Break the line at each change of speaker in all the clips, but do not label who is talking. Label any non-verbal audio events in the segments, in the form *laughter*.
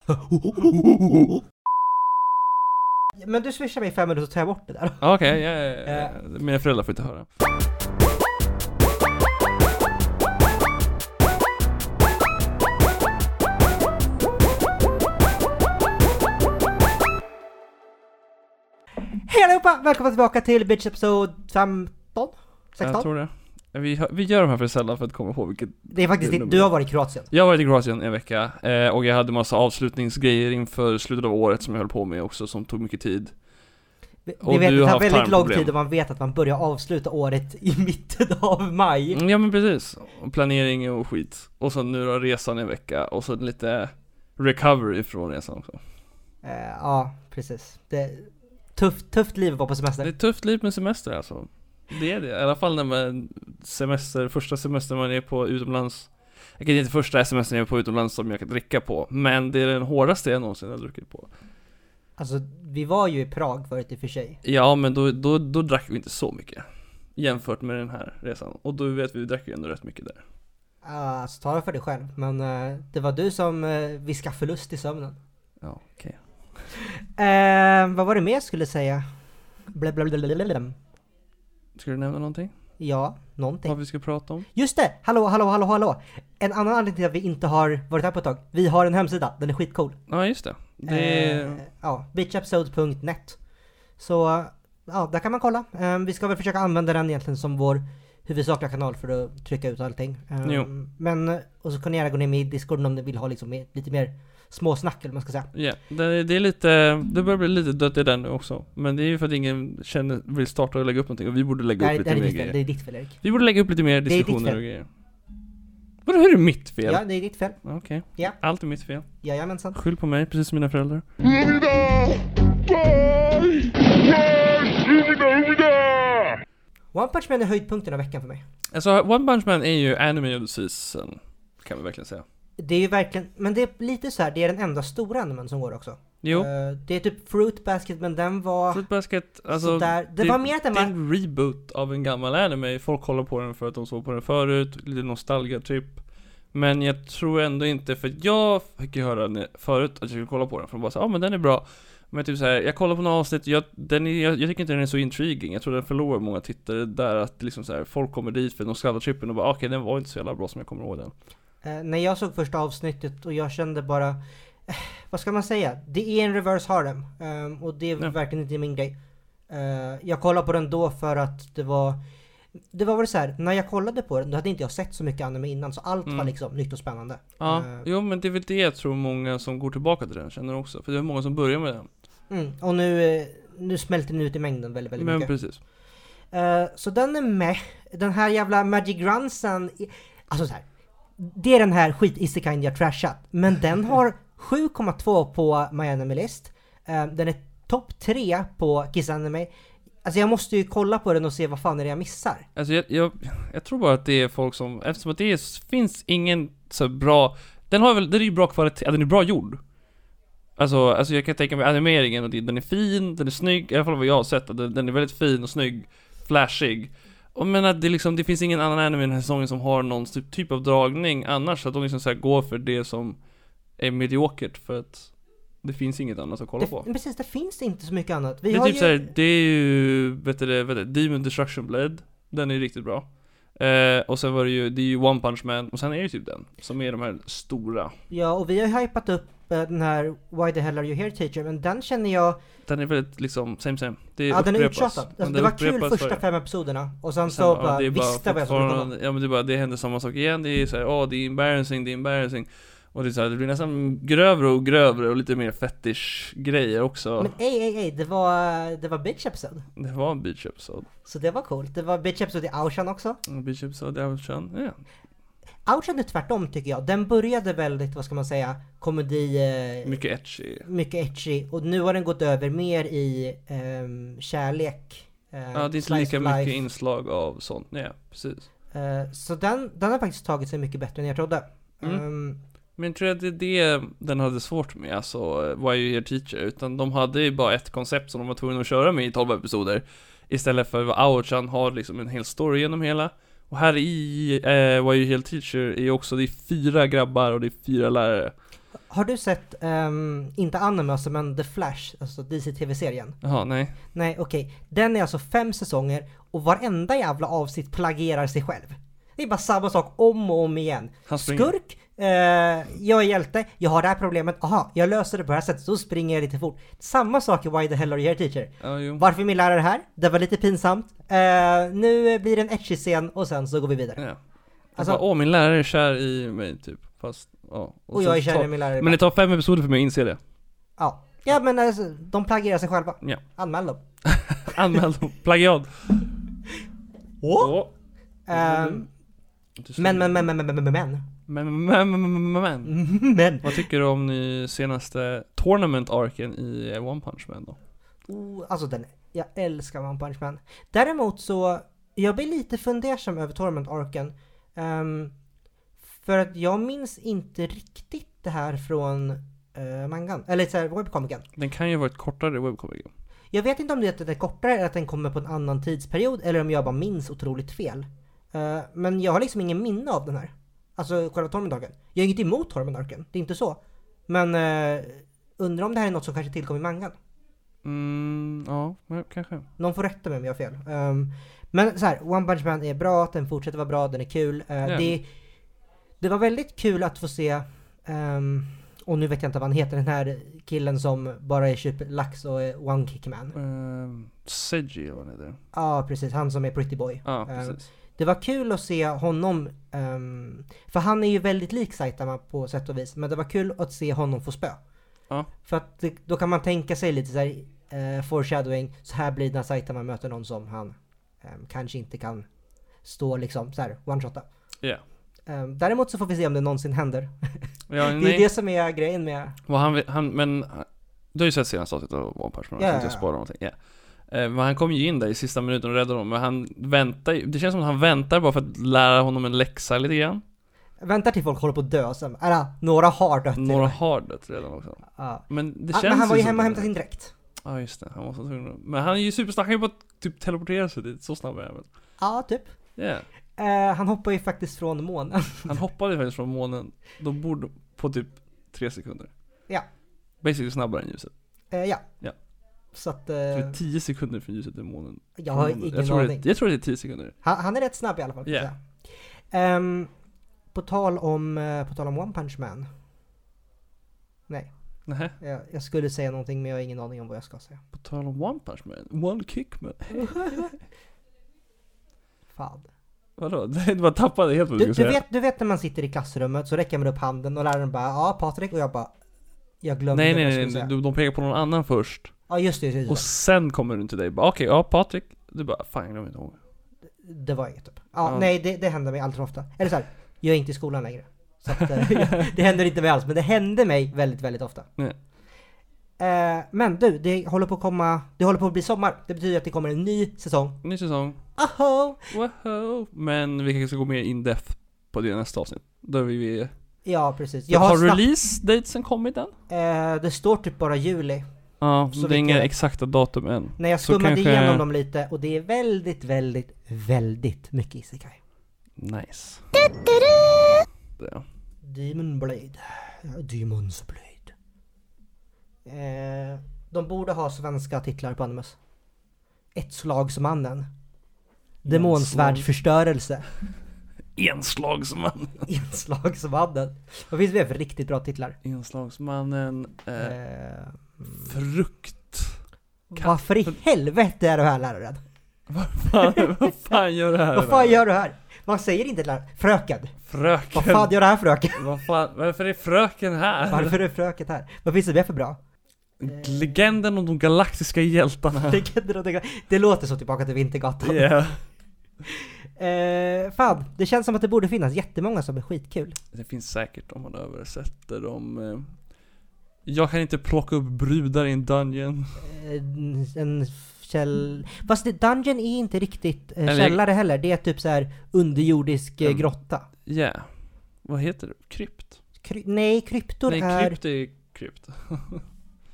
*laughs* Men du swishar mig fem minuter så tar jag bort det där. *laughs*
Ja, Okej, ja, ja, ja. mina föräldrar får inte höra.
Hej allihopa! Välkomna tillbaka till Bitch Episode 15?
Jag
16?
tror det. Vi, har- vi gör de här för sällan för att komma ihåg vilket...
Det är faktiskt
Det är
ditt,
nummer.
du har varit i Kroatien.
Jag har varit i Kroatien en vecka eh, och jag hade massa avslutningsgrejer inför slutet av året som jag höll på med också som tog mycket tid.
Vi
Och
vi vet
du
att det tar
har haft
väldigt lång
tarmproblem.
tid och man vet att man börjar avsluta året i *laughs* mitten av maj.
Mm, Ja men precis, Och planering och skit. Och så nu då resan en vecka och så lite recovery från resan också.
Eh, ja, precis. Det är tufft, tufft liv att vara på
Det är
semester.
ett tufft liv med semester alltså. Det är det, i alla fall när man semester, första semestern man är på utomlands. Jag kan inte första semestern jag är på utomlands som jag kan dricka på, men det är den hårdaste jag någonsin har druckit på.
Alltså, vi var ju i Prag förut i och för sig.
Ja, men då, då, då drack vi inte så mycket. Jämfört med den här resan. Och då vet vi, vi drack ju ändå rätt mycket där.
Uh, alltså, tala för dig själv. Men eh, det var du som uh, viskade förlust i sömnen.
Ja, okej.
*laughs* Eh, vad var det mer jag skulle säga? Bla, bla, bla, bla, bla, bla.
Ska du nämna någonting?
Ja, någonting.
Vad vi ska prata om?
Just det! Hallå, hallå, hallå, hallå! En annan anledning till att vi inte har varit här på ett tag. Vi har en hemsida, den är skitcool.
Ja, just det. Det är...
Eh, ja, bitchepisode.net. Så, eh, ja, där kan man kolla. Eh, vi ska väl försöka använda den egentligen som vår huvudsakliga kanal för att trycka ut allting. Eh,
Jo.
Men, eh, och så kan ni gärna gå ner med i Discord om ni vill ha liksom mer, lite mer småsnack eller vad man ska säga.
Ja, det, det är lite, det börjar bli lite dött i den nu också. Men det är ju för att ingen känner, vill starta och lägga upp någonting och vi borde
Det
lägga
här- det
upp lite
här är
mer
ditt fel, det
grejer.
är ditt fel Erik.
Vi borde lägga upp lite mer
Det är ditt
diskussioner
fel.
och grejer. Vadå, hur är det mitt fel?
Ja, det är ditt fel.
Okej.
Ja.
Allt är mitt fel.
Jajamensan.
Skyll på mig, precis som mina föräldrar.
One Punch Man är höjdpunkten av veckan för mig.
Alltså, One Punch Man är ju anime of the season. Kan vi verkligen säga.
Det är ju verkligen, men det är lite så här, det är den enda stora animen som går också.
Jo.
Eh, det är typ Fruit Basket men den var...
Fruit Basket, alltså
Sådär. Det var mer att den
det är
var-
en reboot av en gammal anime, folk kollar på den för att de såg på den förut, lite nostalgia typ Men jag tror ändå inte, för att jag fick ju höra när- förut att jag skulle kolla på den, för de bara så, ja ah, men den är bra Men typ såhär, jag kollar på några avsnitt, jag, den är, jag, jag tycker inte den är så intriguing, jag tror den förlorar många tittare där att liksom såhär, folk kommer dit för nostalgia-trippen och bara ah, okej den var inte så jävla bra som jag kommer ihåg den
Eh, när jag såg första avsnittet och jag kände bara... eh, vad ska man säga? Det är en reverse harem. eh, och det är
Ja.
verkligen inte min grej. Eh, jag kollade på den då för att det var... Det var väl så här, när jag kollade på den då hade inte jag sett så mycket anime innan så allt var
Mm.
liksom nytt och spännande.
Ja,
Eh,
jo men det är väl det jag tror många som går tillbaka till den känner också, för det är många som börjar med den
mm, och nu, eh, nu smälter den ut i mängden väldigt, väldigt
Men
mycket.
precis
Eh, så den är med. Den här jävla Magic Grunsen, i- alltså så här. Det är den här skit isekine jag trashat, men den har 7,2 på My Anime List. Eh, den är topp 3 på Kiss Anime. Alltså jag måste ju kolla på den och se vad fan är det jag missar.
Alltså jag, jag, jag tror bara att det är folk som, eftersom att det är, finns ingen så bra, den har väl, den är ju bra kvalitet, ja, den är bra gjord. Alltså, alltså jag kan tänka mig animeringen och det, den är fin, den är snygg, i alla fall vad jag har sett, att den, den är väldigt fin och snygg, flashig. Och men att det liksom, det finns ingen annan anime i den här säsongen som har någon typ, typ av dragning annars, så att de liksom så här går för det som är mediokert för att det finns inget annat att kolla
Det,
på.
precis, det finns inte så mycket annat. Vi
Det är
har
typ
ju...
såhär, det är ju, vet du det, vet du, Demon Destruction Blade Den är riktigt bra eh, Och sen var det ju, det är ju One Punch Man Och sen är det ju typ den Som är de här stora
Ja, och vi har ju hypat upp eh, den här Why the hell are you here teacher, men den känner jag...
Den är väldigt liksom, same same Det
Ja, den är
upprepas.
uttjatad.
Ja,
Alltså, det
den
var kul
upprepas
första
varje-
fem episoderna, och sen,
Sen,
så
ja,
bara
det är bara
visste vad jag skulle komma.
fortfarande- Ja men det är bara, det händer samma sak igen Det är såhär, åh det är embarrassing, det är embarrassing Och det är såhär, det blir nästan grövre och grövre och lite mer fetish grejer också
Men ej, ej, ej, det var, det var bitch episode.
Det var en beach episode
Så det var coolt. Det var bitch episode i Aushan också.
En beach episode, det är väl skön, ja
Aushan är tvärtom tycker jag. Den började väldigt, vad ska man säga, komedi, eh, mycket,
Mycket etchy
etchy. Och nu har den gått över mer i ehm, kärlek. eh,
Ja, det är inte
slice
lika
of
mycket
life.
inslag av sånt, nej precis
Eh, så den, den har faktiskt tagit sig mycket bättre än jag trodde.
Mm.
Ehm,
Men jag tror att det är det den hade svårt med, alltså eh, Why You Here Teacher, utan de hade ju bara ett koncept som de var tvungna att köra med i 12 episoder Istället för vad Aochan har liksom en hel story genom hela Och här i eh, Why You Here Teacher är ju också, det är fyra grabbar och det är fyra lärare
Har du sett, ehm, inte anime alltså, men The Flash, alltså DC-tv-serien?
Jaha, nej.
Nej, okej. Den är alltså fem säsonger och varenda jävla avsnitt plagierar sig själv. Det är bara samma sak om och om igen.
Han springer.
Skurk, eh, jag är hjälte, jag har det här problemet, aha, jag löser det på det här sättet, så springer jag lite fort. Samma sak i Why the hell are you here teacher?
Ja, jo.
Varför är min lärare här? Det var lite pinsamt. Eh, nu blir det en etchig scen och sen så går vi vidare.
Ja.
Alltså-
Alltså, åh min lärare är kär i mig typ, fast, ja.
Och, jag
sen
är kär
tar-
i min lärare.
Men det tar fem episoder för mig att inse det.
Ja. ja, men alltså, de plagierar sig själva.
Ja.
Anmäl dem.
Anmäld om plagiat. Åh.
Eh, men, men, men, men, men, men, men, men. *laughs*
Men, men, men, men, men, men.
Mm. Men.
Vad tycker du om ny senaste tournament-arken i eh, One Punch Man då?
Oh, alltså den, jag älskar One Punch Man. Däremot så, jag blir lite fundersam över Torment Arken. Ehm, för att jag minns inte riktigt det här från eh, mangan, eller såhär webcomicen.
Den kan ju vara ett kortare webcomic.
Jag vet inte om det är att den är kortare eller att den kommer på en annan tidsperiod eller om jag bara minns otroligt fel. Eh, men jag har liksom ingen minne av den här. Alltså själva Torment Arken. Jag är inget emot Torment Arken, det är inte så. Men eh, undrar om det här är något som kanske tillkom i mangan.
Mm, ja, men kanske.
Någon får rätta mig om jag har fel. Ehm, men så här, One Punch Man är bra, den fortsätter vara bra, den är kul. Eh,
Ja.
det, det var väldigt kul att få se, ehm, och nu vet jag inte vad han heter, den här killen som bara är typ lax och är One Kick Man. Ja,
Uh, Seji eller vad han heter.
precis, han som är Pretty Boy.
Ja,
Eh,
precis.
Det var kul att se honom, ehm, för han är ju väldigt lik Saitama på sätt och vis, men det var kul att se honom få spö.
Ja.
För att det, då kan man tänka sig lite såhär, eh, foreshadowing, så här blir det när Saitama möter någon som han ehm, kanske inte kan stå liksom såhär, one-shotta.
Ja.
Ehm, däremot så får vi se om det någonsin händer.
Ja,
Det är
nej.
ju det som är grejen med,
Vad han, vill- han, men, han- du har ju sett senaste avsnittet av One Punch Man,
Ja,
jag tänkte
ja, ja.
spara någonting. Ja. Eh, Men han kom ju in där i sista minuten och räddade honom, men han väntar ju, det känns som att han väntar bara för att lära honom en läxa lite grann.
vänta till folk håller på att dö, sen, eller några har dött. till
Några
och med.
har dött redan också.
Ja.
Men det
Ah,
känns
men han var ju
som
hemma och
det.
hämtade sin dräkt.
Ja just det, han var så tvungen att- Men han är ju supersnabb, han kan ju bara typ teleportera sig dit, så snabb är han väl?
Ja, typ.
Yeah.
Eh, han hoppar ju faktiskt från månen.
Han hoppade ju faktiskt från månen, de borde på typ tre sekunder.
Ja.
Basically snabbare än ljuset.
Eh, ja.
Ja.
Så att,
Jag
eh,
tror det är 10 sekunder från ljuset till månen.
jag har ingen
jag tror
aning.
Det, jag tror det är 10 sekunder.
Han, han är rätt snabb i alla fall. kan jag
Yeah.
säga. Ehm, på, tal om, eh, på tal om One Punch Man.
Nähä.
Jag, jag skulle säga någonting men jag har ingen aning om vad jag ska säga.
På tal om One Punch Man, One Kick Man.
Fan.
Vadå? *laughs* Det bara tappade helt vad du,
Du, du,
skulle säga.
vet, du vet när man sitter i klassrummet så räcker man upp handen och läraren bara ja Patrik och jag bara jag glömde
Nej
vad
nej
jag
nej,
skulle
nej.
säga.
Du, de pekar på någon annan först.
Ja just det, just det,
Och
just
sen kommer du till dig bara okej, ja Patrik. Du bara fan jag glömmer inte ihåg.
det. Det var inget typ. Ja,
Ja.
nej det, det händer mig allt för ofta. Eller så här, jag är inte i skolan längre. Så att, eh, *laughs* det händer inte mig alls men det hände mig väldigt väldigt ofta.
Nej.
Eh, men du, det håller på att komma, det håller på att bli sommar. Det betyder att det kommer en ny säsong.
Ny säsong.
Aho!
Woho! Men vi kanske ska gå mer in depth på det nästa avsnitt. Då är vi...
Ja, precis.
Jag
Jag
har
har snabbt,
release-datesen kommit än?
eh, det står typ bara juli.
Ja,
Så
så
vitt
det är inga
jag vet.
exakta datum än.
När jag
Så
skummade
kanske-
igenom dem lite och det är väldigt, väldigt, väldigt mycket isekai.
Nice. Det.
Demon Blade. Ja, Demon's Blade. Eh, de borde ha svenska titlar på animes. Ett slagsmannen. *laughs* Demonsvärdsförstörelse.
Enslagsman.
Enslagsmannen. Vad finns det mer för riktigt bra titlar?
Enslagsmannen. Eh,
Eh,
frukt. Kan-
varför i helvete är du här läraren?
*laughs* Fan, vad fan gör det här?
Vad fan gör du här? Man säger inte till läraren, fröken. Vad
Fröken.
fan gör det här fröken?
*laughs* Vad fan, varför är fröken här?
Varför är fröket här? Vad finns det mer för bra?
Legenden om de galaktiska hjältarna.
Det, kan dra- det, kan- det låter så tillbaka till Vintergatan.
Yeah.
Eh, fan, det känns som att det borde finnas jättemånga som är skitkul.
Det finns säkert om man översätter dem. eh, Jag kan inte plocka upp brudar i en dungeon.
Eh, en käll... Fast det, Dungeon är inte riktigt eh,
Eller-
källare heller. Det är typ så här underjordisk eh,
Mm.
grotta.
Yeah. Vad heter det? Krypt?
Kry- nej, kryptor
Nej,
är...
krypt är krypt.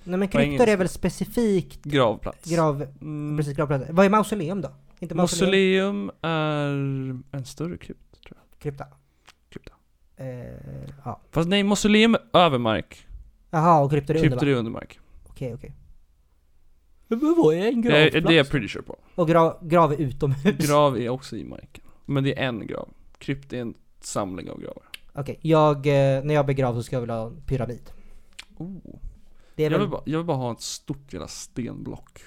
nej men
På engelska.
kryptor är väl specifikt
Gravplats.
grav...
Mm.
Precis, alltså gravplatser. Vad är mausoleum då? Inte mausoleum?
Mausoleum är en större krypt.
Krypta.
Krypta.
Eh, ja.
Fast nej, mausoleum är över mark.
Jaha, och kryptor är under
Kryptor
mark.
är under mark.
Okej, okej. Men vad är en
Det är,
gravplats?
det är jag pretty sure på.
Och gra grav är utomhus.
Grav är också i marken. Men det är en grav. Krypt är en samling av gravar.
Okej, jag, eh, när jag begravs så ska jag väl ha en pyramid.
Oh.
Det är
Jag,
väl,
vill bara, jag vill bara ha ett stort jävla stenblock.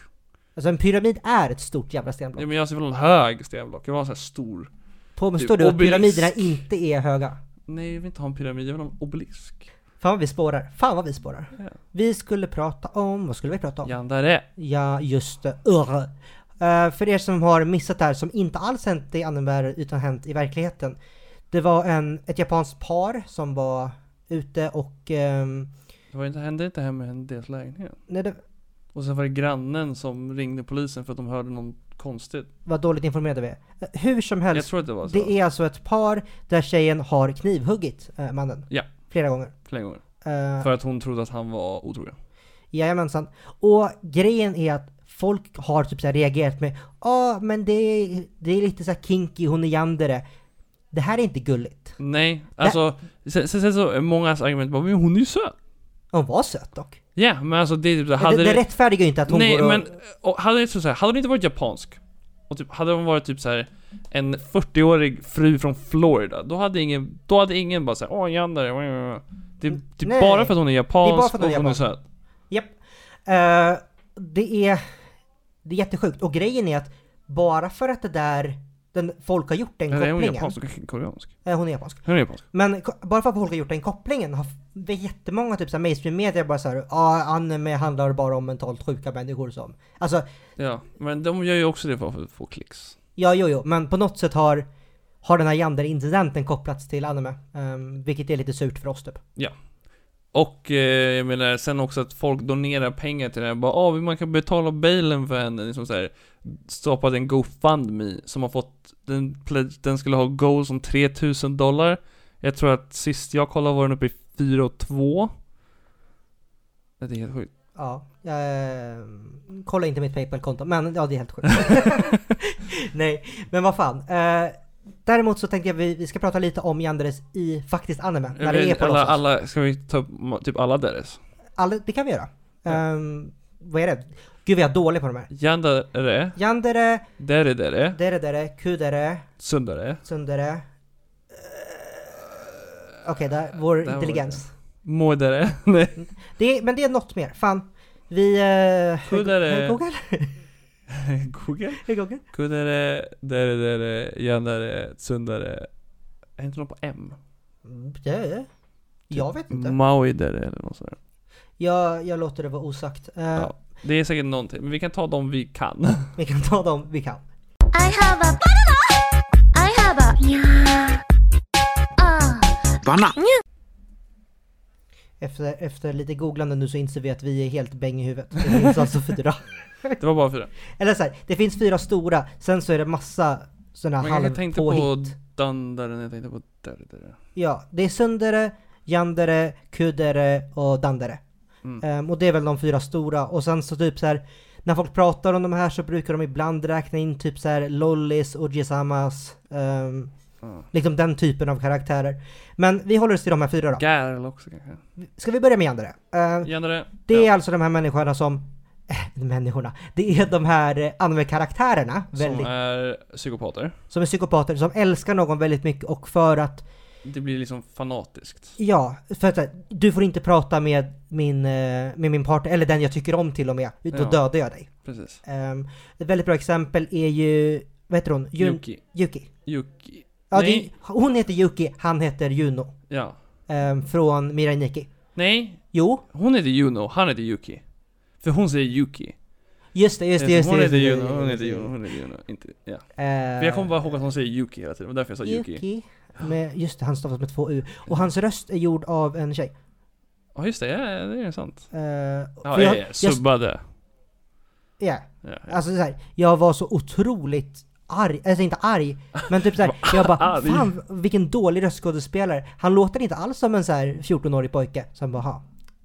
alltså en pyramid är ett stort jävla
Ja,
stenblock.
men jag ser väl en hög stenblock. Jag vill ha en sån här stor.
Påstår
du,
du att
obelisk.
pyramiderna inte är höga?
Nej, jag vill inte ha en pyramid. Jag vill ha en obelisk.
Fan vad vi spårar. Fan vad vi spårar.
Ja.
Vi skulle prata om, vad skulle vi prata om? Ja,
Ja, där är.
just det. Urr. Eh, för er som har missat det här, som inte alls hänt i anime utan hänt i verkligheten. Det var en, ett japanskt par som var ute och... ehm,
Det var inte, hände inte hemma i deras lägenhet.
nej, det
Och sen var det grannen som ringde polisen för att de hörde någon konstigt.
var dåligt informerade vi är. Eh, Hur som helst.
Jag tror att det var så.
Det är alltså ett par där tjejen har knivhuggit eh, mannen.
Ja.
Flera gånger.
Flera gånger.
Eh,
För att hon trodde att han var otrogen.
jajamensan. Och grejen är att folk har typ så här reagerat med Ja, men det är, det är lite så här kinky, hon är yandere. Det här är inte gulligt.
Nej, alltså. Sen, sen, sen så är mångas argument bara, men hon är ju söt.
Hon var söt dock.
Ja, men alltså det är typ så,
Det,
hade
det, rättfärdigar ju inte att hon
Nej
går och...
men, eh, och hade det, så här, hade det inte varit japansk och typ, hade hon varit typ så här en 40-årig fru från Florida, då hade ingen, då hade ingen bara såhär åh Yandere, wah, wah, wah." Det är typ
Nej.
bara för att hon är japansk
Det är bara för att hon är
och hon är
japan.
söt.
Japp. Eh, det är... Det är jättesjukt. Och grejen är att bara för att det där... Den, folk har gjort den
Eller är hon
kopplingen.
japansk? Hon är koreansk.
Eh, hon är japansk.
Hon är japansk.
Men ko- bara för att folk har gjort den kopplingen har f- det är jättemånga typ såhär mainstream media bara såhär ja anime handlar bara om mentalt sjuka människor som. Alltså,
Ja, men de gör ju också det för att få klicks.
ja jo jo, men på något sätt har, har den här Yander-incidenten kopplats till anime. ehm, vilket är lite surt för oss typ.
Och eh, jag menar sen också att folk donerar pengar till det här, bara ah, man kan betala bailen för henne, liksom såhär Stoppat en GoFundMe som har fått, den, pledge- den skulle ha goals om 3000 dollar Jag tror att sist jag kollade var den uppe i 4 och 2 Det är helt sjukt
Ja, ehm, kolla inte mitt Paypal-konto, men ja det är helt sjukt. *laughs* Nej, men vad fan. Eh, däremot så tänkte jag vi, vi ska prata lite om Yanderes i faktiskt anime, när det är på
alla,
låtsas.
alla, ska vi ta upp ma- typ alla deres?
Alla, det kan vi göra.
Ja.
Ehm, vad är det? Gud vi är dålig på de här.
Yandere,
Yandere,
Dere Dere,
Dere dere, kudere,
Sundare,
sundere. Eh, Okej, där, vår
Där var
intelligens.
Moedere, *laughs* nej
Det. är, men det är något mer. Fan. Vi... Eh,
Kudere.
Google?
Google
Google?
Kunnare, Dere Dere, Yandere, Sundare Är inte någon på M?
Mm, det är det. Jag vet inte.
Maui där eller något sånt där.
Jag, jag låter det vara osagt. Eh,
Ja. Det är säkert någonting, men vi kan ta dem vi kan.
Vi kan ta dem vi kan.
I have a banana. I have a yeah. Ah.
Efter, efter lite googlande nu så inser vi att vi är helt bäng i huvudet. Det finns alltså
*laughs*
fyra.
Det var bara fyra.
Eller så här, det finns fyra stora, sen så är det massa sådana
Men jag tänkte
halvpåhitt.
på Dandaren, jag tänkte på där, där.
Ja, det är Sundere, Yandere, Kudere och Dandere.
Mm.
Ehm, och det är väl de fyra stora. Och sen så typ så här, när folk pratar om de här så brukar de ibland räkna in typ så här Lollis och Jisamas. ehm,
Mm.
Liksom den typen av karaktärer. Men vi håller oss till de här fyra då.
Garl också kanske.
Ska vi börja med Yandere? Ehm,
Yandere.
det är
ja.
alltså de här människorna som... *laughs* Äh, människorna. Det är de här eh, anime-karaktärerna, väldigt,
Som är psykopater.
som är psykopater, som älskar någon väldigt mycket och för att
Det blir liksom fanatiskt.
Ja, för att så här, du får inte prata med min, eh, med min partner, eller den jag tycker om till och med, då
Ja.
dödar jag dig.
Precis.
Ehm, ett väldigt bra exempel är ju, vad heter hon? Jun-
Yuki.
Yuki.
Yuki.
Ja, det,
Nej.
hon heter Yuki, han heter Juno.
Ja.
ehm, från Mirai Nikki.
Nej.
Jo,
Hon heter Juno, han heter Yuki. För hon säger Yuki.
just det, just det, just det.
hon
just det,
heter Juno,
just det,
hon
just
heter
det.
Juno, hon heter Juno. Inte, ja.
Ehm,
För jag kommer bara ihåg att hon säger Yuki hela tiden, det var därför jag sa Yuki.
Yuki. Med, just det, han stavas med två U. Och hans röst är gjord av en tjej.
Ja just det, ja, det är sant.
Ehm,
Ja,
för
ja,
jag-
ja,
jag-
subbade.
ja.
Ja, ja.
Alltså så här, jag var så otroligt arg, alltså inte arg, men typ
*laughs*
såhär, jag bara
Arg.
fan vilken dålig röstskådespelare. Han låter inte alls som en så här 14-årig pojke. Så han bara, "Ha,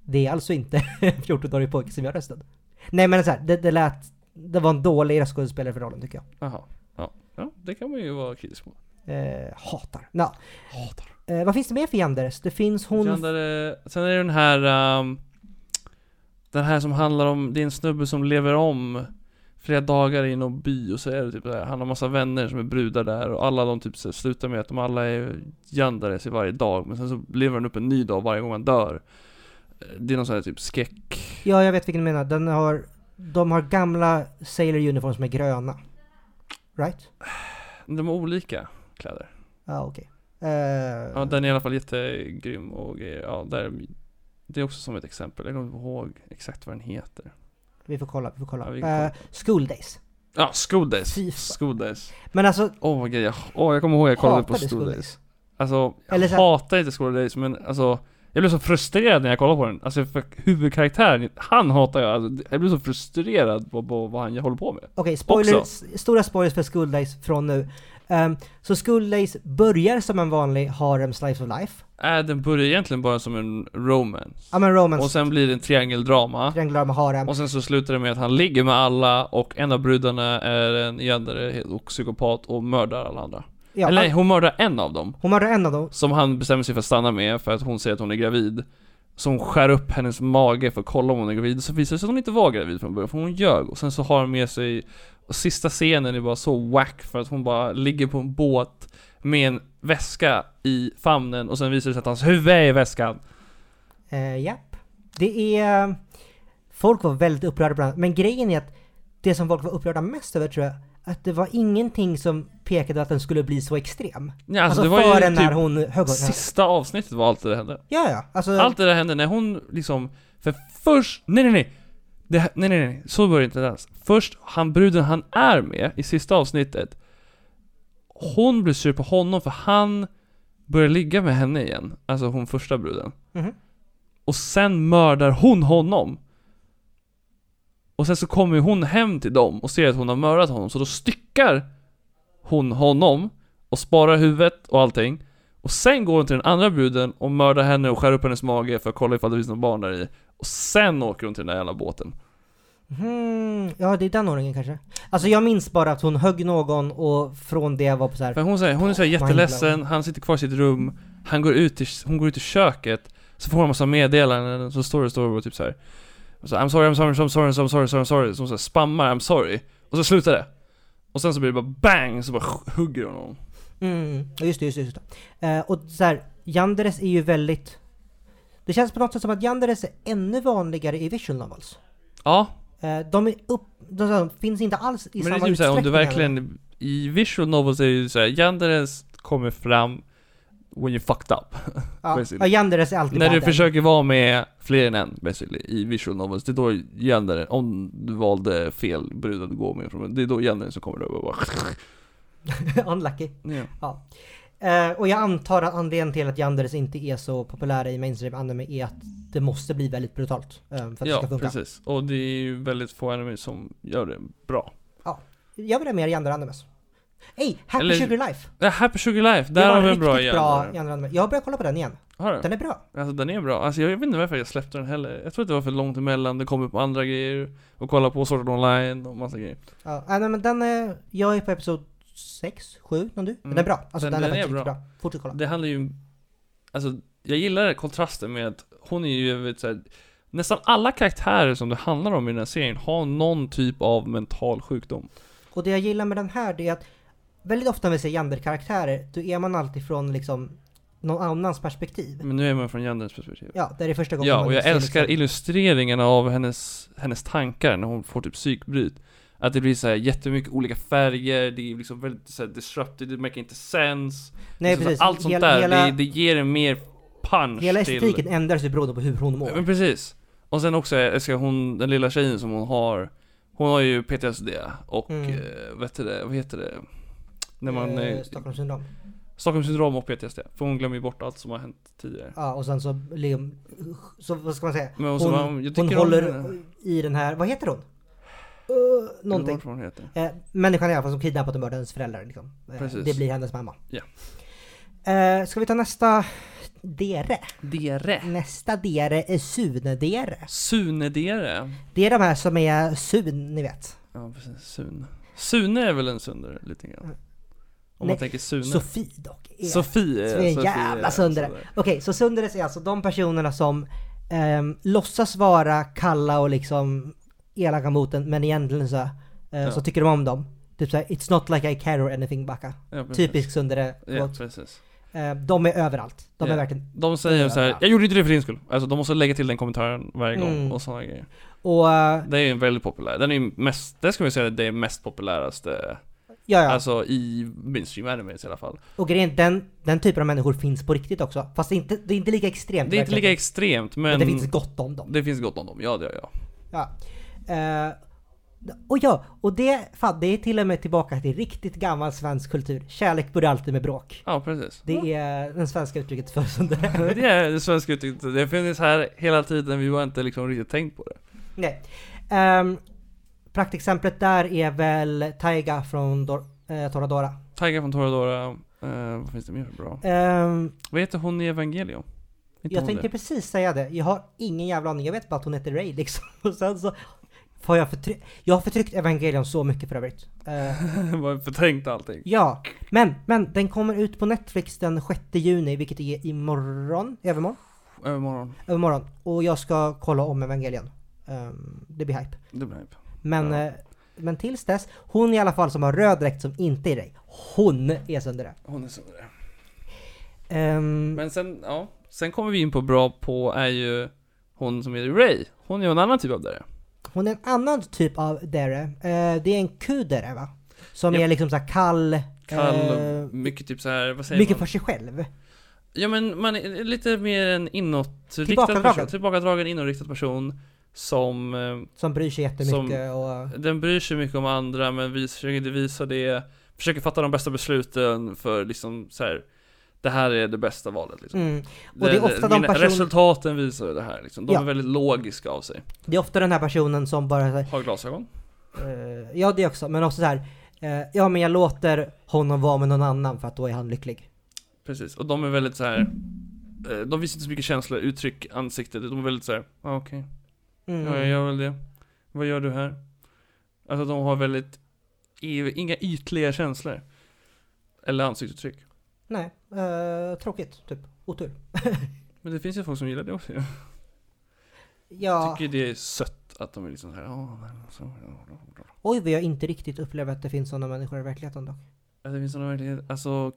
det är alltså inte *laughs* en 14-årig pojke som gör rösten. Nej men så här, det, det lät, det var en dålig röstskådespelare för rollen tycker jag.
Jaha. Ja. ja, det kan man ju vara kritisk mot.
Eh, hatar. Ja.
Hatar.
Eh, vad finns det mer för Yanderes? Det finns hon...
Jandare, sen är det den här... ehm, den här som handlar om, det är en snubbe som lever om flera dagar i någon by och så är det typ så här, han har massa vänner som är brudar där och alla de typ så här, slutar med att de alla är Yandares i varje dag men sen så lever han upp en ny dag varje gång han dör. Eh, Det är någon sån här typ skräck...
Ja, jag vet vilken du menar. Den har... De har gamla Sailor Uniforms som är gröna. Right?
De har olika kläder.
Ja, okej. Eh,
Ja, den är i alla fall jättegrym och grejer. Ja, där, det är också som ett exempel. Jag kommer inte ihåg exakt vad den heter.
Vi får kolla, vi får kolla.
Ja,
Ja,
vi kan kolla.
school Days.
Ja, School Days!
Fy fan.
School Days.
Men alltså,
Åh vad grejer. Åh, jag kommer ihåg jag kollade på
hatade
School
School
Days. Alltså, jag
Eller så här-
hatar inte School Days men alltså Jag blev så frustrerad när jag kollade på den. Alltså för huvudkaraktären, han hatar jag. Alltså, jag blev så frustrerad på, på vad han håller på med.
Okej, spoilers, stora spoilers för School Days från nu. Ehm, så School Days börjar som en vanlig harem slice of life.
Äh, den börjar egentligen bara som en romance.
Ja men
Och
romance,
sen blir det en triangeldrama.
triangular med harem.
Och sen så slutar det med att han ligger med alla och en av brudarna är en jändare och psykopat och mördar alla andra.
Ja,
Eller nej,
han-
hon mördar en av dem.
hon mördar en av dem.
Som han bestämmer sig för att stanna med för att hon säger att hon är gravid. Så hon skär upp hennes mage för att kolla om hon är gravid. Så visar det sig att hon inte var gravid från början för hon ljög. Och sen så har han med sig... Och sista scenen är bara så wack för att hon bara ligger på en båt med en väska i famnen och sen visar det sig att hans huvud är i väskan.
Eh, japp. Det är... ehm, Folk var väldigt upprörda bland annat. Men grejen är att det som folk var upprörda mest över tror jag, att det var ingenting som pekade att den skulle bli så extrem.
Ja, alltså,
Alltså,
det var ju
före när
typ
hon högg honom.
sista avsnittet var allt det där hände.
Ja, ja. Alltså,
Allt det där hände när hon liksom, för först, nej nej nej! Det, här- nej nej nej, så börjar det inte alls. Först, han bruden han är med i sista avsnittet, hon blir sur på honom för han börjar ligga med henne igen, alltså hon första bruden.
Mhm.
Och sen mördar hon honom. Och sen så kommer ju hon hem till dem och ser att hon har mördat honom, så då styckar hon honom och sparar huvudet och allting. Och sen går hon till den andra bruden och mördar henne och skär upp hennes mage för att kolla ifall det finns något barn där i. Och sen åker hon till den där jävla båten.
Hmm, ja, det är den ordningen kanske. Alltså jag minns bara att hon högg någon och från det var på så här.
För hon säger, hon är så här jätteledsen, han sitter kvar i sitt rum, han går ut till, hon går ut i köket, så får hon en massa meddelanden, så står det, står det och typ så här. Och så, I'm sorry, I'm sorry, I'm sorry, I'm sorry, I'm sorry, I'm sorry, så hon så här spammar I'm sorry. Och så slutar det. Och sen så blir det bara bang, så bara hugger hon honom.
Mm, ja, just det, just det. Just det. Eh, och så här, Yanderes är ju väldigt... Det känns på något sätt som att Yanderes är ännu vanligare i visual novels.
Ja,
Eh, de är upp... De, de finns inte alls i
Men det är
samma
typ såhär, om du
utsträckning
verkligen I visual novels är det ju såhär, Yanderes kommer fram When you fucked up
Ja,
precis.
ja Yanderes är alltid
När du
bad där.
försöker vara med fler än en basically I visual novels, det är då Yandere Om du valde fel brud att gå med från Det är då Yandere som kommer och bara
*laughs* Unlucky.
ja.
Eh, och jag antar att anledningen till att Yanderes inte är så populära i mainstream anime är att det måste bli väldigt brutalt eh, för att det ska
ja,
funka.
precis Och det är ju väldigt få anime som gör det bra
Jag vill ha mer Yandere-animes. Ey, Happy
Eller-
Sugar Life!
Äh, Happy Sugar Life,
det
där
var
har vi en
riktigt
bra
bra
Yandere
Yandere-anime. Jag har börjat kolla på den igen.
Har du?
Den är bra.
Alltså den är bra, alltså jag vet inte varför jag släppte den heller Jag tror att det var för långt emellan, det kom upp andra grejer Och kolla på Sword Art Online och massa grejer
Ja, nej, nej, men den är, jag är på episod 6, 7, någon du. Den är bra. Alltså
Mm. Den-
den,
den
är
är
faktiskt
bra.
bra. bra. Fortsätt kolla.
Det handlar ju Alltså, jag gillar kontrasten med att hon är ju, jag vet, så här, nästan alla karaktärer som det handlar om i den här serien har någon typ av mental sjukdom.
Och det jag gillar med den här det är att väldigt ofta när vi ser Yander-karaktärer, då är man alltid från liksom någon annans perspektiv.
Men nu är man från Janders perspektiv.
Ja, det är det första gången
Ja,
man
och jag
ser
älskar
liksom-
illustreringarna av hennes, hennes tankar när hon får typ psykbryt. Att det blir så här jättemycket olika färger, det är liksom väldigt så här disruptive, det make inte
Nej
sense. Liksom så här,
precis,
Allt sånt
hela,
där, det,
hela,
det ger en mer punch
hela
till...
estetiken ändras ju beroende på hur hon mår.
Ja, Men precis. Och sen också, jag älskar hon, den lilla tjejen som hon har Hon har ju PTSD och,
Mm.
eh, vet du det, vad heter det? När man,
Eh,
eh,
Stockholmssyndrom.
Stockholmssyndrom och PTSD, för hon glömmer ju bort allt som har hänt tidigare
Ja, och sen så, liksom, så vad ska man säga?
Men och så
Hon,
man, jag
hon
tycker om
håller
henne.
i den här, vad heter hon? Uh,
Jag kommer
någonting.
inte ihåg vad hon heter.
Eh, människan i alla fall som kidnappat och mördat hennes föräldrar. Liksom. Eh,
Precis.
det blir hennes mamma.
Ja.
Eh, ska vi ta nästa dere?
Dere
Nästa dere är Sune-dere.
Sune Dere
Det är de här som är Sun, ni vet.
Ja precis, Sun Sune är väl en sundare lite grann? Om
Mm. Nej,
man tänker Sune.
Sofie dock är...
Sofie.
Så det är en
Sofie,
jävla
ja,
sundare.
sådär.
Okej, så sundares är alltså de personerna som um, låtsas vara kalla och liksom elaka mot en, men egentligen så, eh, så tycker de om dem. Typ såhär, it's not like I care or anything backa.
Ja, precis.
Typisk sundare.
Ja,
låt.
precis.
Eh, de är överallt. De är
Ja.
verkligen...
De säger så här, jag gjorde inte det för din skull. Alltså de måste lägga till den kommentaren varje gång
Mm.
och sådana grejer.
Och... eh,
Det är ju en väldigt populär, den är ju mest, det ska vi säga att det är mest populäraste,
ja, ja.
alltså i mainstream animes i alla fall.
Och grejen, den, den typen av människor finns på riktigt också. Fast det är inte, det är inte lika extremt.
Det är inte lika
verkligen.
extremt men,
Men det finns gott om dem.
det finns gott om dem, ja det gör jag.
Ja. Eh, och ja, och det, fan, det är till och med tillbaka till riktigt gammal svensk kultur. Kärlek börjar alltid med bråk.
Ja precis.
Det är det svenska uttrycket för sånt där. *laughs*
Det är det svenska uttrycket, det finns här hela tiden, vi har inte liksom riktigt tänkt på det.
Nej. Um, praktexemplet där är väl Taiga från Dor- eh, Toradora.
Tiger från Toradora, eh, vad finns det mer för bra?
Ehm,
Vad heter hon i Evangelion? Inte
jag
hon
tänkte
det?
precis säga det. Jag har ingen jävla aning. Jag vet bara att hon heter Ray liksom. *laughs* Och sen så har jag förtryckt, jag har förtryckt Evangelion så mycket för övrigt. Eh,
*laughs* Bara förträngt allting.
Ja, men, men den kommer ut på Netflix den 6 juni, vilket är imorgon, övermorgon,
Övermorgon,
övermorgon. Och jag ska kolla om Evangelion. Ehm, det blir hype.
det blir hype.
Men,
Ja.
eh, men tills dess, hon i alla fall som har röd dräkt som inte är dig, hon är sönder
Hon är sådär.
um,
Men sen, ja. Sen kommer vi in på bra på är ju hon som är Ray. Hon är ju en annan typ av dare.
Hon är en annan typ av dere. Eh, det är en kudere va? Som
Ja.
är liksom såhär kall,
Kall,
eh,
mycket typ så här, vad säger
mycket
man?
för sig själv.
Ja men man är lite mer en inåtriktad
Tillbakadragen.
person. Tillbakadragen, inåtriktad person. Som, eh,
Som bryr sig jättemycket och...
den bryr sig mycket om andra men vis, försöker inte visa det. Försöker fatta de bästa besluten för liksom så här. Det här är det bästa valet liksom.
Mm. Och det är ofta de
mina-
personer-
Resultaten visar det här liksom. De
Ja.
är väldigt logiska av sig.
Det är ofta den här personen som bara så här,
Har glasögon.
Eh, ja, det också. Men också så här. eh, ja, men jag låter honom vara med någon annan för att då är han lycklig.
Precis, och de är väldigt så här. eh, De visar inte så mycket känslor, uttryck, ansikte. De är väldigt så här. ah, okej,
Mm.
ja, jag gör väl det. Vad gör du här? Alltså de har väldigt, i- inga ytliga känslor. Eller ansiktsuttryck.
Nej, eh, tråkigt. Typ. Otur.
Men det finns ju folk som gillar det också ju.
Ja,
Tycker ju det är sött att de är liksom så här. "Ja, men så, ja, ja, ja."
oj vad jag inte riktigt upplever att det finns sådana människor i verkligheten dock.
Att det finns någon verklighet, alltså.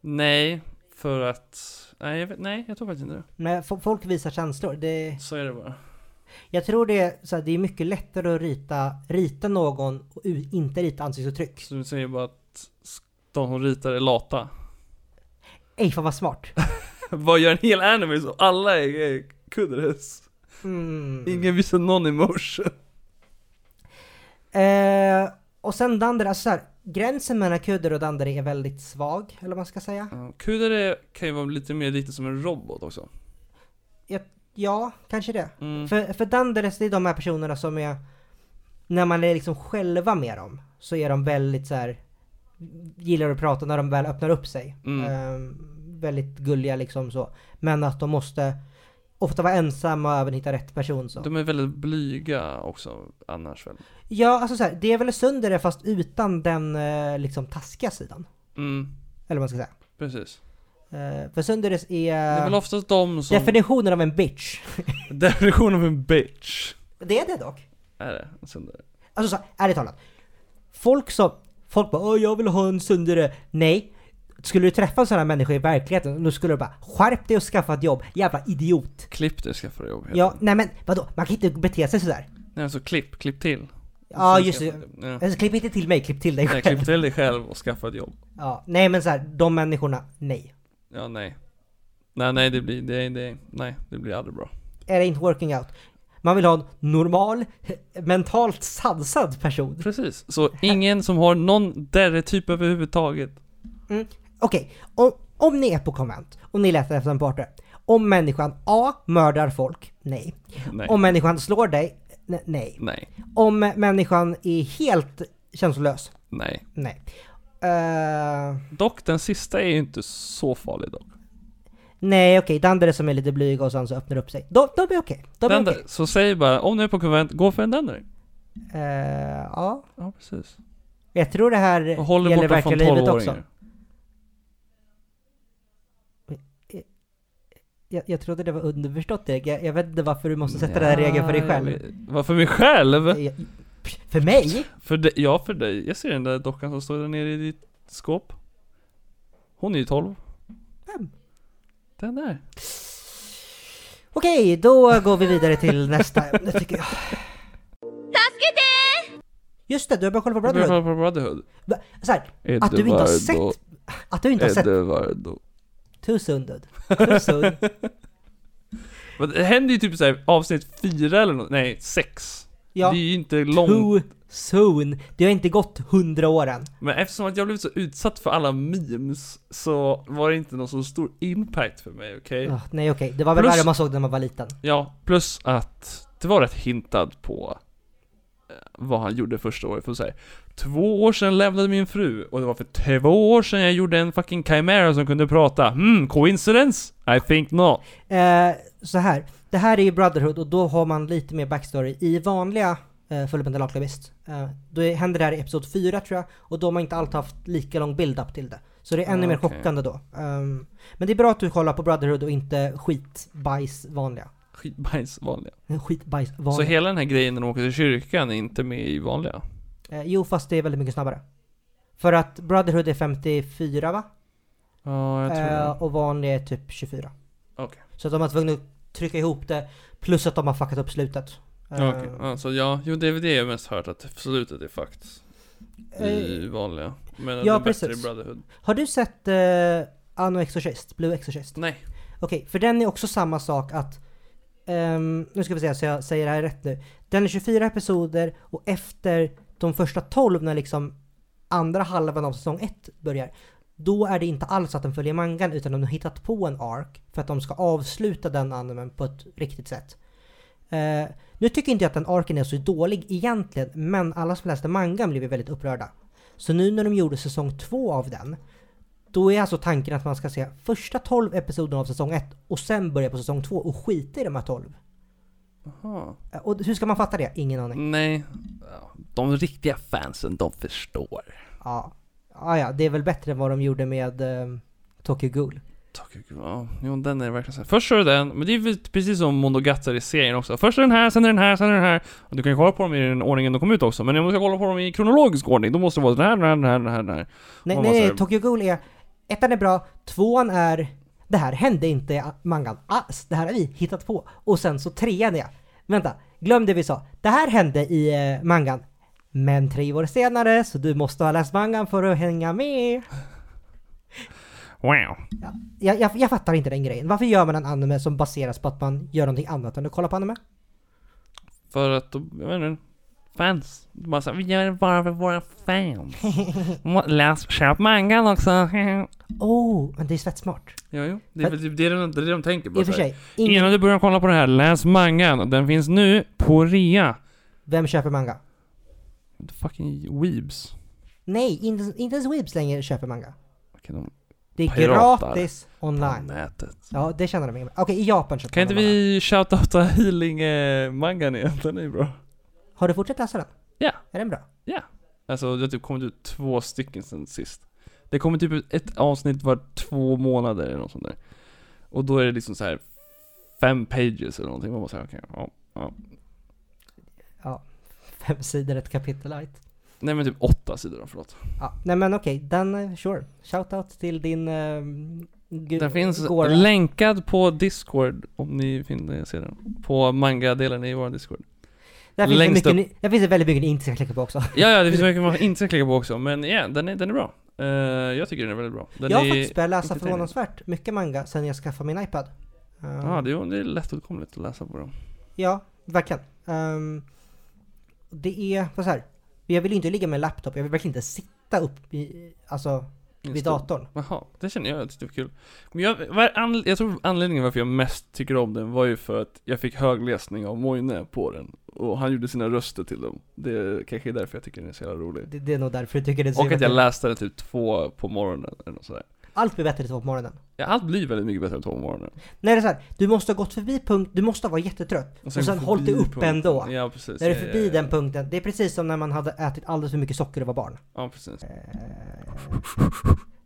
Nej, för att, nej jag, vet, nej, jag tror faktiskt inte det.
Men fo- folk visar känslor. Det,
Så är det bara.
jag tror det är, så här, det är mycket lättare att rita, rita någon och u- inte rita ansiktsuttryck.
Så du säger bara att de som ritar är lata.
Ej, fan vad
*laughs*
smart.
Vad gör en hel anime som alla är, är kudres?
Mm.
Ingen visar någon emotion.
Eh, och sen Dandere, alltså så här, gränsen mellan Kudder och Dandere är väldigt svag, eller vad man ska säga.
Ja, Kudare kan ju vara lite mer lite som en robot också.
Ja, kanske det.
Mm.
För, för Dundeles, det är de här personerna som är... När man är liksom själva med dem så är de väldigt så här gillar att prata när de väl öppnar upp sig.
Mm.
Ehm, väldigt gulliga liksom så. Men att de måste ofta vara ensamma och även hitta rätt person så.
De är väldigt blyga också annars väl.
Ja, alltså så här, det är väl sundare fast utan den eh, liksom taskiga sidan.
Mm,
Eller vad man ska säga.
precis.
Eh, för Sunderes är...
Det är väl oftast de som...
Definitionen av en bitch.
Definition av en bitch.
Det är det dock.
Är det? Sen där.
Alltså så, ärligt talat. Folk som, folk bara Åh, jag vill ha en sundare. Nej. Skulle du träffa sådana människor i verkligheten, då skulle du bara skärp dig och skaffa ett jobb, jävla idiot.
Klipp det skaffa dig jobb. heter
Ja,
det.
nej men vadå, man kan inte bete sig sådär.
Nej alltså klipp, klipp till.
Ja,
Sen
just
skaffa
det.
ett jobb. Ja.
Alltså, klipp inte till mig, klipp till dig
Nej,
själv.
klipp till dig själv och skaffa ett jobb.
Ja, nej men såhär, de människorna, nej.
Ja, nej. Nej, nej det blir, det, det, nej, det blir aldrig bra.
Är det inte working out? Man vill ha en normal, mentalt sansad person.
Precis, så ingen som har någon derre-typ överhuvudtaget.
Mm. Okej, om, om ni är på konvent och ni letar efter en partner. Om människan A mördar folk, nej.
Nej.
Om människan slår dig, ne- nej.
Nej.
Om människan är helt känslolös,
Nej.
nej. Eh,
Dock, den sista är ju inte så farlig dock.
nej okej, den där som är lite blyg och sen så öppnar upp sig. De, de är okej. De är
Den
okej.
där, så säg bara, om du är på konvent, gå för en Denner.
Eh, ja.
Ja, precis.
Jag tror det här
Och håller
gäller
borta från
verkliga livet också.
12-åringar.
Jag, jag trodde det var underförstått Erik. Jag, jag vet inte varför du måste sätta den här regeln för dig
Ja,
själv. Eh,
jag vet. Vad för mig själv?
Jag, för mig?
För dig? Ja, för dig. Jag ser den där dockan som står där nere i ditt skåp. Hon är ju 12.
Vem?
Den där.
Okej, då går vi vidare till nästa ämne tycker jag. Just det, du har börjat kolla på Brotherhood.
Brotherhood. Brotherhood.
Va- Så här, att du inte har
Eduardo.
sett... Att du inte
Eh,
har sett...
Eduardo.
Too soon dude. Too soon.
Men det händer ju typ såhär avsnitt fyra eller något. Nej, sex.
Ja.
Det är ju inte långt.
Too soon. Det har inte gått hundra år än.
Men eftersom att jag blev så utsatt för alla memes så var det inte någon så stor impact för mig, okej?
Ah, nej okej, det var väl
Plus-
värre om man såg det när man var liten.
Ja, plus att det var rätt hintad på eh, vad han gjorde första året, för att säga Två år sedan lämnade min fru och det var för två år sedan jag gjorde en fucking chimera som kunde prata. Hmm, coincidence? I think not.
Eh, så här. Det här är ju Brotherhood och då har man lite mer backstory. I vanliga eh, Fullmetal Alchemist, eh, då är- händer det här i Episod 4 tror jag, och då har man inte alltid haft lika lång build-up till det. Så det är ännu
Ah,
mer
okej.
chockande då. Ehm, men det är bra att du kollar på Brotherhood och inte skitbajs vanliga.
Skitbajs vanliga.
Skitbajs
Så
vanliga.
hela den här grejen när de åker till kyrkan är inte med i vanliga?
Eh, jo, fast det är väldigt mycket snabbare. För att Brotherhood är 54 va?
Ja, jag tror
Eh,
det.
och vanlig är typ 24.
Okej.
Så att de har tvungna att trycka ihop det, plus att de har fuckat upp slutet. Eh,
Okej, alltså ja, jo det är väl det jag mest hört att slutet är fucked
eh,
i vanliga. Men
ja,
det är bättre i
precis.
Brotherhood.
Har du sett eh, Anno Exorcist? Blue Exorcist?
Nej.
Okej, för den är också samma sak att... ehm, nu ska vi se så jag säger det här rätt nu. Den är 24 episoder och efter de första 12 när liksom andra halvan av säsong 1 börjar. Då är det inte alls att den följer mangan utan de har hittat på en ark för att de ska avsluta den animen på ett riktigt sätt. Eh, nu tycker inte jag att den arken är så dålig egentligen, men alla som läste mangan blev ju väldigt upprörda. Så nu när de gjorde säsong 2 av den, då är alltså tanken att man ska se första 12 episoderna av säsong 1 och sen börja på säsong 2 och skita i de här 12.
Aha.
Eh, Och hur ska man fatta det? Ingen aning.
Nej. Ja, De riktiga fansen, de förstår.
Ja. Ah, ja, det är väl bättre än vad de gjorde med eh, Tokyo Ghoul.
Tack, ja, jo, den är verkligen så här. Först kör du den, men det är väl precis som Monogatari-serien också. Först är den här, sen är den här, sen är den här. Och du kan ju kolla på dem i den ordningen de kom ut också, men om du ska kolla på dem i kronologisk ordning, då måste det vara den här, den här, den här, den här, den här.
Nej,
Vad
nej,
var
nej,
det?
Tokyo Ghoul är... Ettan är bra, tvåan är... Det här hände inte i mangan alls. Det här har vi hittat på. Och sen så trean är... Vänta, glöm det vi sa. Det här hände i eh, mangan. Men tre år senare, så du måste ha läst mangan för att hänga med.
Wow.
Ja, jag, jag, jag fattar inte den grejen. Varför gör man en anime som baseras på att man gör någonting annat än att kolla på anime?
För att de, jag vet inte, fans. De bara så här, vi gör det bara för våra
*laughs*
fans. Må- Läs, köp mangan också. *laughs*
Oh, men det är svetsmart.
ja, jo. Det är väl typ det de, det är det de tänker
I
på.
och för
så här.
sig, ingen,
Innan du börjar kolla på det här, läs mangan. Den finns nu på rea.
vem köper manga?
Fucking weebs.
Nej, inte, inte ens Weebs längre köper manga.
Okej, de
Det är
Piratar.
gratis
på
online.
nätet.
Ja, det känner de inget med. Okej, i Japan köper
Kan
man
inte
manga.
vi shoutouta healing-mangan igen? Den är ju bra.
Har du fortsatt läsa den?
Ja.
Är den bra?
Alltså det har typ kommit ut två stycken sen sist. Det kommer typ ut ett avsnitt var två månader eller något sånt där. Och då är det liksom så här fem pages eller någonting. Man bara såhär, okej, ja, ja.
Fem sidor, ett kapitel light.
Nej men typ åtta sidor då, förlåt.
Ja, nej men okej, den, eh, sure. Shoutout till din... Um,
Den finns länkad på Discord om ni finner, ser den. På manga-delen i vår Discord.
Där finns det,
längst
mycket, ni- där finns det väldigt mycket ni inte ska klicka på också.
Ja, ja, det finns mycket man inte ska klicka på också, men ja, den, är, den är bra. Eh, jag tycker den är väldigt bra. Den
jag har
är...
faktiskt börjat läsa
entertaining.
förvånansvärt mycket manga sen jag skaffade min iPad. Ehm,
Ja, det, är- det är lättåtkomligt att läsa på dem.
Ja, verkligen. Ehm, det är, vad så här, jag vill ju inte ligga med en laptop, jag vill verkligen inte sitta upp i, alltså, vid
Just det.
datorn.
Jaha, det känner jag, jag tyckte det var kul. Men jag, var, anle- jag tror anledningen varför jag mest tycker om den var ju för att jag fick högläsning av Moine på den. Och han gjorde sina röster till dem. Det kanske är därför jag tycker den är så jävla rolig.
Det, det är nog därför du tycker det är så
Och
himla
att jag
kul.
läste den typ två på morgonen eller något sådär.
Allt blir bättre två på morgonen.
Ja, Allt blir väldigt mycket bättre än två morgonen.
Nej det är så här, du måste ha gått förbi punkt, du måste vara jättetrött. Och sen, hållit dig
förbi
upp
punkten.
ändå.
Ja, precis.
När du är
Ja, ja,
förbi
ja.
den punkten, det är precis som när man hade ätit alldeles för mycket socker och var barn. Ehm,
Ja, precis.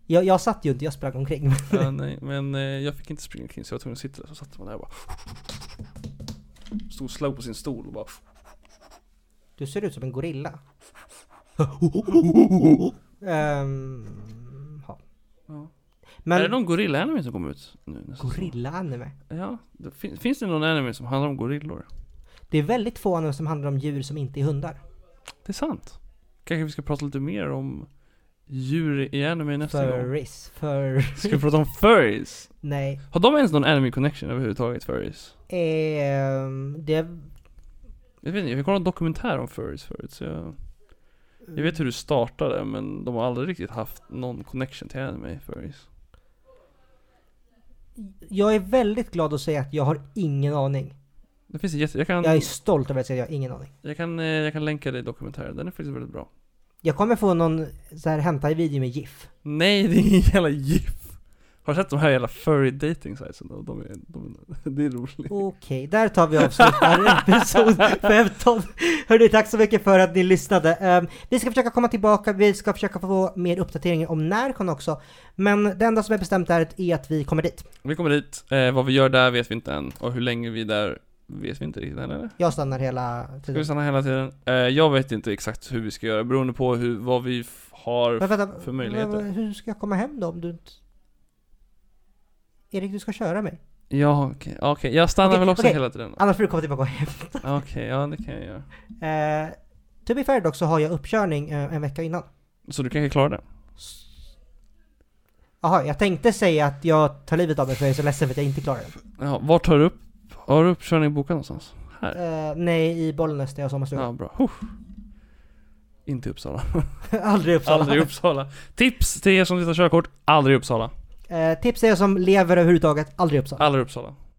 Jag, jag satt ju inte, jag sprang omkring.
Ja, nej, men eh, jag fick inte springa omkring så jag var tvungen att sitta där. Så satt man där och bara... Stod slow på sin stol och bara...
Du ser ut som en gorilla. Ehm, ja.
Ja.
Men
Är det någon gorilla-anime som kommer ut nu? nästa säsong?
gorilla-anime?
Ja. Det, fin, finns det någon anime som handlar om gorillor?
Det är väldigt få anime som handlar om djur som inte är hundar.
Det är sant. Kanske vi ska prata lite mer om djur i anime nästa gång.
Furries, fur...
Ska vi prata om furries?
*laughs* Nej.
Har de ens någon anime connection överhuvudtaget, furries?
Ehm, det...
Jag vet inte, jag fick kolla en dokumentär om furries förut så jag... Jag vet hur det startade men de har aldrig riktigt haft någon connection till anime furries.
Jag är väldigt glad att säga att jag har ingen aning.
Det finns en jätte... Jag kan...
Jag är stolt över att säga att jag har ingen aning.
Jag kan, eh, jag kan länka dig i dokumentären, den är faktiskt väldigt bra.
Jag kommer få någon så här hentai-video med GIF.
Nej, det är ingen jävla GIF! Har du sett de här jävla furry dating sitesen? De, de är, de, det är roligt.
Okej, där tar vi avslutar *laughs* episod 15. Hörni, tack så mycket för att ni lyssnade. Ehm, vi ska försöka komma tillbaka, vi ska försöka få mer uppdateringar om Närcon också. Men det enda som är bestämt är att- är att vi kommer dit.
Vi kommer dit, eh, vad vi gör där vet vi inte än, och hur länge vi är där vet vi inte riktigt än eller?
Jag stannar hela
Ska vi
tiden.
stanna hela tiden? Eh, jag vet inte exakt hur vi ska göra, beroende på hur, vad vi f- har...
Men vänta,
för möjligheter?
men hur ska jag komma hem då om du inte... Erik, du ska köra mig.
Ja, okej, okej, jag stannar
Okej,
väl också
okej.
hela tiden?
Annars får du komma tillbaka och hem.
Okej, ja det kan jag göra.
Uh, to be fair dock så har jag uppkörning eh, en vecka innan.
Så du kanske klarar det?
Jaha, jag tänkte säga att jag tar livet av mig för jag är så ledsen för att jag inte klarar det.
*laughs* Ja, vart tar du upp, har du uppkörning bokad någonstans? Här?
Eh, nej, i Bollnäs där jag har sommarstuga.
Ja, bra. Huh. Inte i Uppsala.
Aldrig i Uppsala.
Aldrig i Uppsala. Tips till er som tittar körkort, aldrig i Uppsala.
Eh, tips är jag som lever överhuvudtaget, aldrig i Uppsala.
Aldrig i Uppsala.